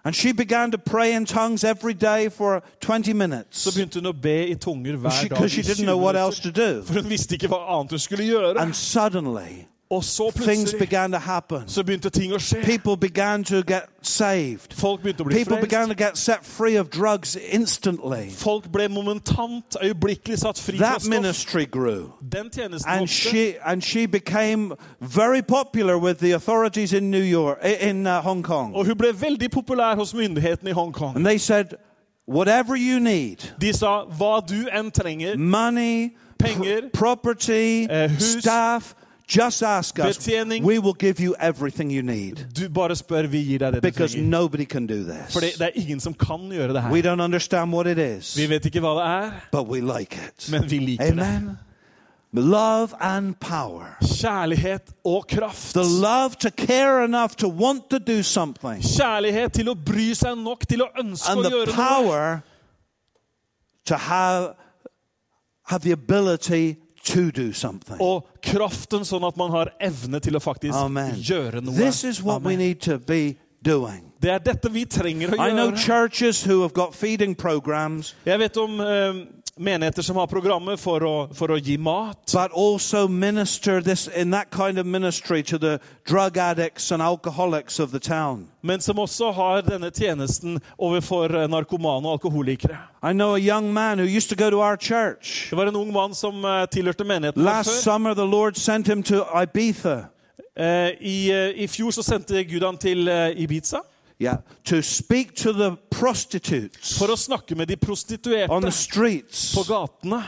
And she began to pray in tongues every day for 20 minutes Så begynte hun å be i tunger hver dag. i because she, 20 didn't know what else minutter, to do. For hun visste ikke hva annet hun skulle gjøre. And suddenly, Og så things plutselig began to happen. så begynte ting å skje. People began to get saved. Folk begynte å bli People began to frelst. get set free of drugs instantly. Folk ble momentant, øyeblikkelig satt fri fra That stoff. ministry grew. Den tjenesten And vokste. she, and she became very popular with the authorities in New York, i- in uh, Hong Kong. Og hun ble veldig populær hos myndighetene i Hongkong. And they said, whatever you need, De sa hva du enn trenger, money, Penger, property, eh, hus, staff, just ask us. betjening. We will give you everything you need. du bare spør, vi gir deg det du Because trenger. nobody can do For this. det er ingen som kan gjøre det her. We don't understand what it Vi is, vet ikke hva det er, but we like it. men vi liker det. Amen. love and power. Kjærlighet og kraft. The love to care enough to want to do something, Kjærlighet til å bry seg nok til å ønske and å the gjøre noe. power to have, have the ability to do something. Og kraften sånn at man har evne til å faktisk Amen. gjøre noe. This is what we Amen. need to be doing. Det er dette vi trenger å I know gjøre. churches who have got feeding programs, Jeg vet om eh, menigheter som har programmer for å, for å gi mat. but also minister this in that kind of ministry to the drug addicts and alcoholics of the town. men som også har denne tjenesten overfor eh, narkomane og alkoholikere. I know a young man who used to go to our church. Det var en ung mann som eh, tilhørte menigheten vår Last før. summer, the Lord sent him to Ibiza, Eh, I, eh, I fjor så sendte Gud han til eh, Ibiza yeah, to speak to the prostitutes for å snakke med de prostituerte on the streets. på gatene.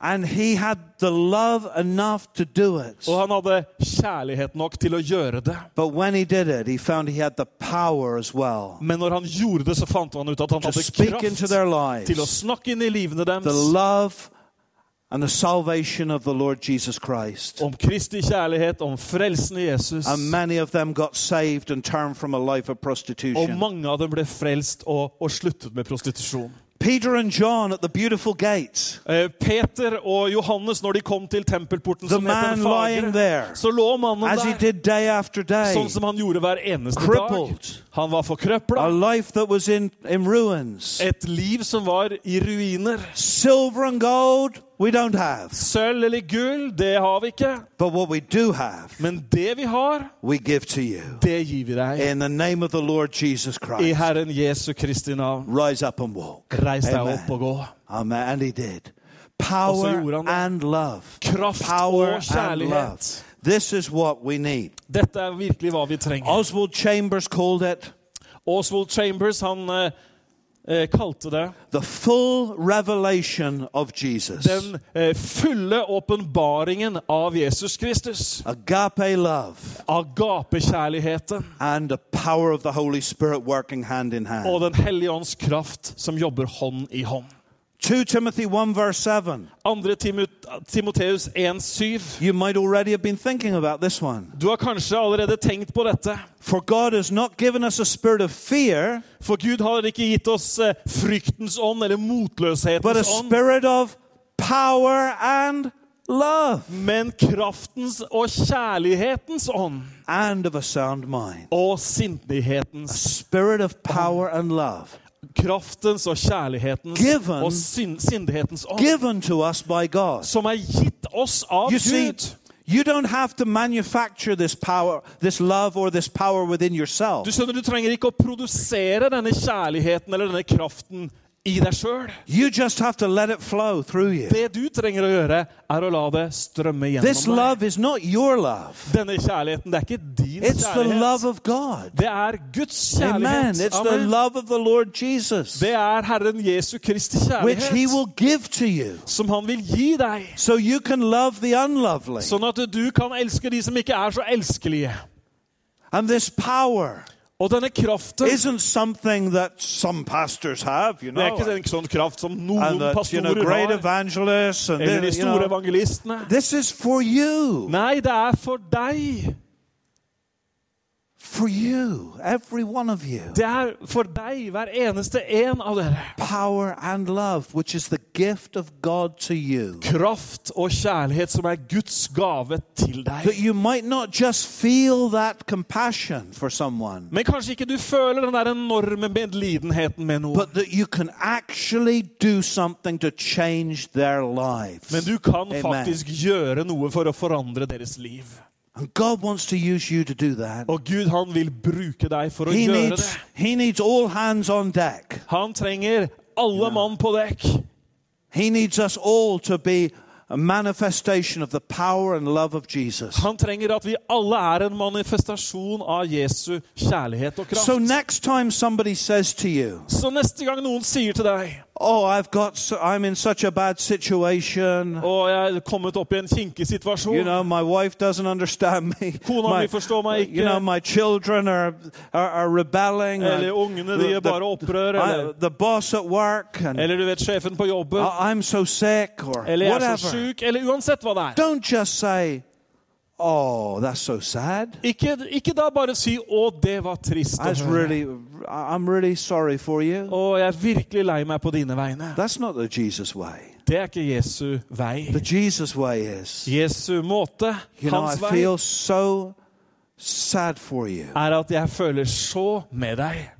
And he had the love enough to do it. Og han hadde kjærlighet nok til å gjøre det. But when he did it, he found he had the power as well Men når han gjorde det, så fant han ut at han to hadde speak into kraft their lives til å snakke inn i livene the deres love and the salvation of the Lord Jesus Christ. om Kristi kjærlighet, om frelsen i Jesus. And many of them got saved and turned from a life of Og prostitution. mange av dem ble frelst og, og sluttet med prostitusjon. Peter and John at the beautiful gate. Eh, Peter og Johannes, når de kom til tempelporten The som heter man Den lying fagre, there, så lå mannen as he der, did day after day. sånn som han gjorde hver eneste dag. Crippled. Han var A forkrøpla. life that was in, in ruins. Et liv som var i ruiner. Silver and gold, we don't have. Sølv eller gull, det har vi ikke. But what we do have, Men det vi har, we give to you. det gir vi deg. In the name of the Lord Jesus I Christ, Herren Jesu Kristi navn. rise up and walk. Reis deg Amen. opp og gå. Amen. And he did. Og så Power gjorde han det. and love. Kraft Power og and love. kjærlighet. This is what we need. Dette er virkelig hva vi trenger. Oswald Chambers called it Oswald Chambers han eh, eh, kalte det the full revelation of Jesus. den eh, fulle åpenbaringen av Jesus Kristus. Agape love Agapekjærligheten and the power of the Holy Spirit working hand in og hand. Den hellige ånds kraft som jobber hånd i hånd. 2 Timothy 1 verse 7. 2. Timot Timoteus 1,7. You might already have been thinking about this one. Du har kanskje allerede tenkt på dette. For God has not given us a spirit of fear, For Gud har ikke gitt oss eh, fryktens ånd eller but a motløshetens ånd, spirit of power and love men kraftens og kjærlighetens ånd. and of a sound mind. Og A sindighetens. spirit of power and love Kraftens og kjærlighetens Given- og sin sindighetens ånd. given to us by God. som er gitt oss av You see, Gud. you don't have to manufacture this power, this love, or this power within yourself. Du skjønner, du trenger ikke å produsere denne kjærligheten eller denne kraften i deg sjøl. You just have to let it flow through you. Det du trenger å gjøre, er å la det strømme This gjennom deg. love is not your love, Denne kjærligheten, det er ikke din it's the love kjærlighet. of God. Det er Guds Amen. kjærlighet. It's the Amen. love of the Lord Jesus, Det er Herren Jesu Kristi which He kjærlighet will give to you som han vil gi deg. so you can love the unlovely. Sånn at du kan elske de som ikke er så elskelige. And this power Og denne kraften isn't something that some pastors have, you Det er ikke know. en sånn kraft som noen And that, you know, pastorer great har, evangelists and eller de this, you store know. evangelistene. This is for you. Nei, det er for deg. For you. Every one of you. Det er for deg, hver eneste en av dere. Power and love, which is the gift of God to you. Kraft og kjærlighet som er Guds gave til That deg. you might not just feel that compassion for someone, Men kanskje ikke du føler den der enorme medlidenheten med noen. but that you can actually do something to change their lives. Men du kan Amen. faktisk gjøre noe for å forandre deres liv. And God wants to use you to do that. Og Gud, han vil bruke deg for å He gjøre needs, det. he needs all hands on deck. Han trenger alle mann på dekk. He needs us all to be a manifestation of the power and love of Jesus. Han trenger at vi alle er en manifestasjon av Jesu kjærlighet og So kraft. next time somebody says to you, Så neste gang noen sier til deg Oh, I've got, so, I'm in such a bad situation. Og jeg er kommet opp i en kinkig situasjon. You know, my wife doesn't understand me. Kona mi forstår meg ikke. You know, my children are, are, are rebelling. eh, Eller ungene, de gjør bare opprør, eller- I- the boss at work. And eller du vet, sjefen på jobben. I- I'm so sick or eller jeg er så Ah, whatever. sjuk. Eller uansett hva det er. Don't just say, oh, that's so sad. Ikke, ikke da bare si 'Å, det var trist'. That's Å, høre. really, I'm really sorry for you. Å, jeg er virkelig lei meg på dine vegne. That's not the Jesus way. Det er ikke Jesu vei. The Jesus way is, Jesu måte, you know, I hans vei, feel so sad for you. er at jeg føler så med deg.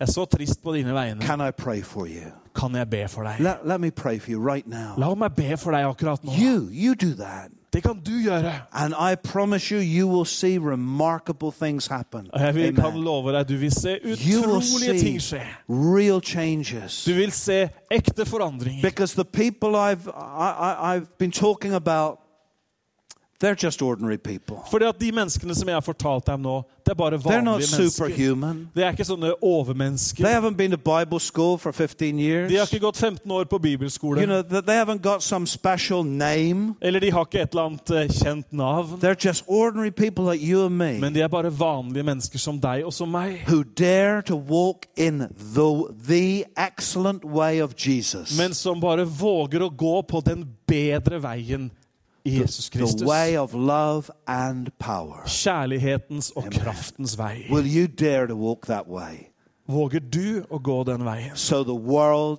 Jeg er så trist på dine vegne. Can I pray for you? Kan jeg be for deg? Let, let me pray for you right now. La meg be for deg akkurat nå. You, you do that. Det kan du gjøre. And I promise you, you will see remarkable things happen. Og jeg vil, Amen. kan love deg, du vil se You will utrolige ting see skje. real changes. Du vil se ekte forandringer. Because the people I've, I, I, I've been talking about, they're just ordinary people. Fordi at de menneskene som jeg har fortalt deg om nå, det er bare They're not vanlige mennesker. superhuman. Det er ikke sånne They overmennesker. haven't been to Bible school for 15 years. De har ikke gått 15 år på bibelskole. You know, th- they haven't got some special name. Eller de har ikke et eller annet eh, kjent navn. They're just ordinary people like you and me Men de er bare vanlige mennesker som deg og som meg. who dare to walk in the, the excellent way of Jesus. men som bare våger å gå på den bedre veien i Jesus the Kristus. way of love and power. Kjærlighetens og kraftens vei. Will you dare to walk that way? Våger du å gå den veien? So the world,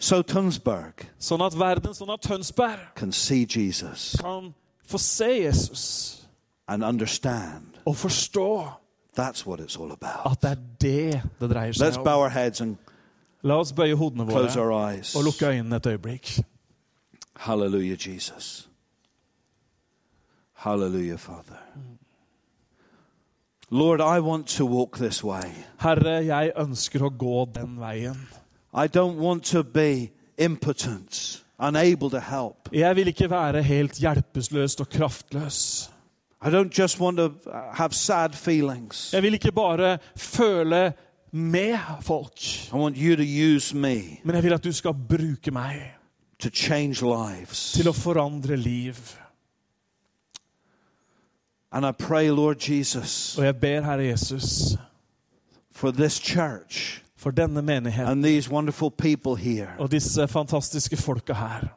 so Tunsberg Sånn at verden, sånn at Tønsberg can see Jesus kan få se Jesus and understand og forstå that's what it's all about. at det er det det dreier Let's seg om. bow our heads and La oss bøye hodene close our våre eyes. og lukke øynene et øyeblikk. Hallelujah, Jesus. Hallelujah, Father. Lord, I want to walk this way. Herre, jeg ønsker å gå den veien. I don't want to be impotent, unable to help. Jeg vil ikke være helt hjelpeløst og kraftløs. I don't just want to uh, have sad feelings. Jeg vil ikke bare føle med folk. I want you to use me Men jeg vil at du skal bruke meg to change lives. til å forandre liv. And I pray, Lord Jesus, Og jeg ber, Herre Jesus, for this church for denne menigheten and these wonderful people here. og disse fantastiske folka her.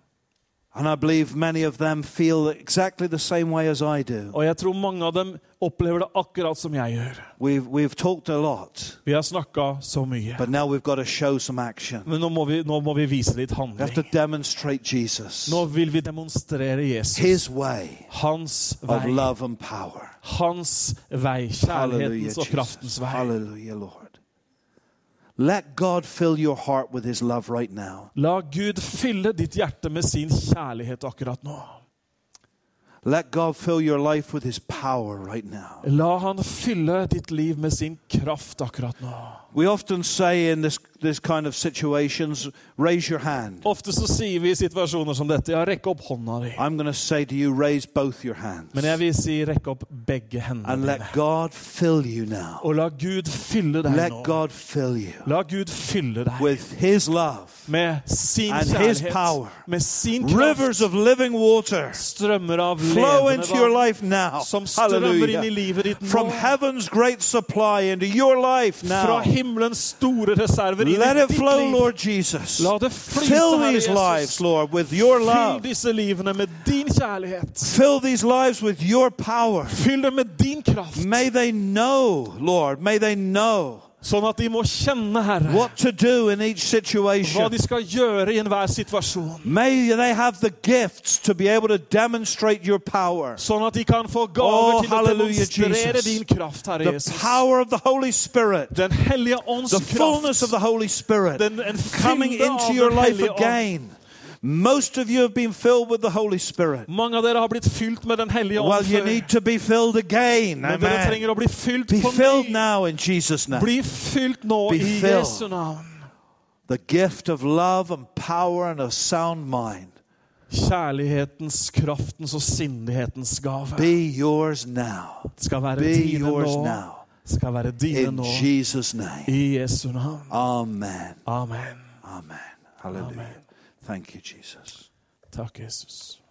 And I believe many of them feel exactly the same way as I do. Og jeg tror mange av dem opplever det akkurat som jeg gjør. We've, we've talked a lot, Vi har snakka så mye. but now we've got to show some action. Men nå må, vi, nå må vi vise litt We have to handling. demonstrate Jesus, Nå vil vi demonstrere Jesus. his way Hans of vei. love and power. Hans vei. Hallelujah, Kjærlighetens og kraftens Jesus. vei. Hallelujah, Lord. Let God fill your heart with his love right now. La Gud fylle ditt hjerte med sin kjærlighet akkurat nå. Let God fill your life with his power right now. La Han fylle ditt liv med sin kraft akkurat nå. We often say in this, this kind of situations, raise your hand. Ofte så sier vi i situasjoner som dette, ja, rekk opp hånda di. I'm going to say to you, raise both your hands. Men jeg vil si, rekk opp begge And hendene dine. let God fill you now. Og la Gud fylle deg Let nå. God fill you La Gud fylle deg with his love. med sin and his power. kjærlighet, med sin kraft. Rivers of living water Strømmer av flow levende into your vann life now. som strømmer inn i Hallelujah. livet ditt From nå. heaven's great supply into your life Fra now. himmelens store reserver inn Let i it ditt flow, liv. Lord Jesus. La det flyte, Fill Herre these Jesus. lives, Lord, with your Fyll love. disse livene med din kjærlighet. Fill these lives with your power. Fyll dem med din kraft, May they know, Lord, may they know sånn at de må kjenne, Herre, what to do in each hva situation. de skal gjøre i enhver situasjon. May they have the gifts to be able to demonstrate your power. Sånn at de kan få gaver Oh, til å hallelujah, demonstrere Jesus. din kraft, Herre The Jesus. power of the Holy Spirit, Den hellige ånds the fullness of kraft the Holy Spirit Den- en fylde coming av into Den your life hellige ånd. again. Most of you have been filled with the Holy Spirit. Mange av dere har blitt fylt med Den hellige ånd Well, you før. need to be filled again. Men dere Amen. trenger å bli fylt Be på filled ny. now in Jesus' name. Bli fylt nå Be i filled. Jesu navn. The gift of love and power and a sound mind Kjærlighetens, kraftens og sindighetens gave be yours now. skal være Be dine yours nå. now. Skal være dine In nå Jesus' name. i Jesu navn. Amen. Amen. Amen. Hallelujah. Thank you, Jesus. Takk, Jesus.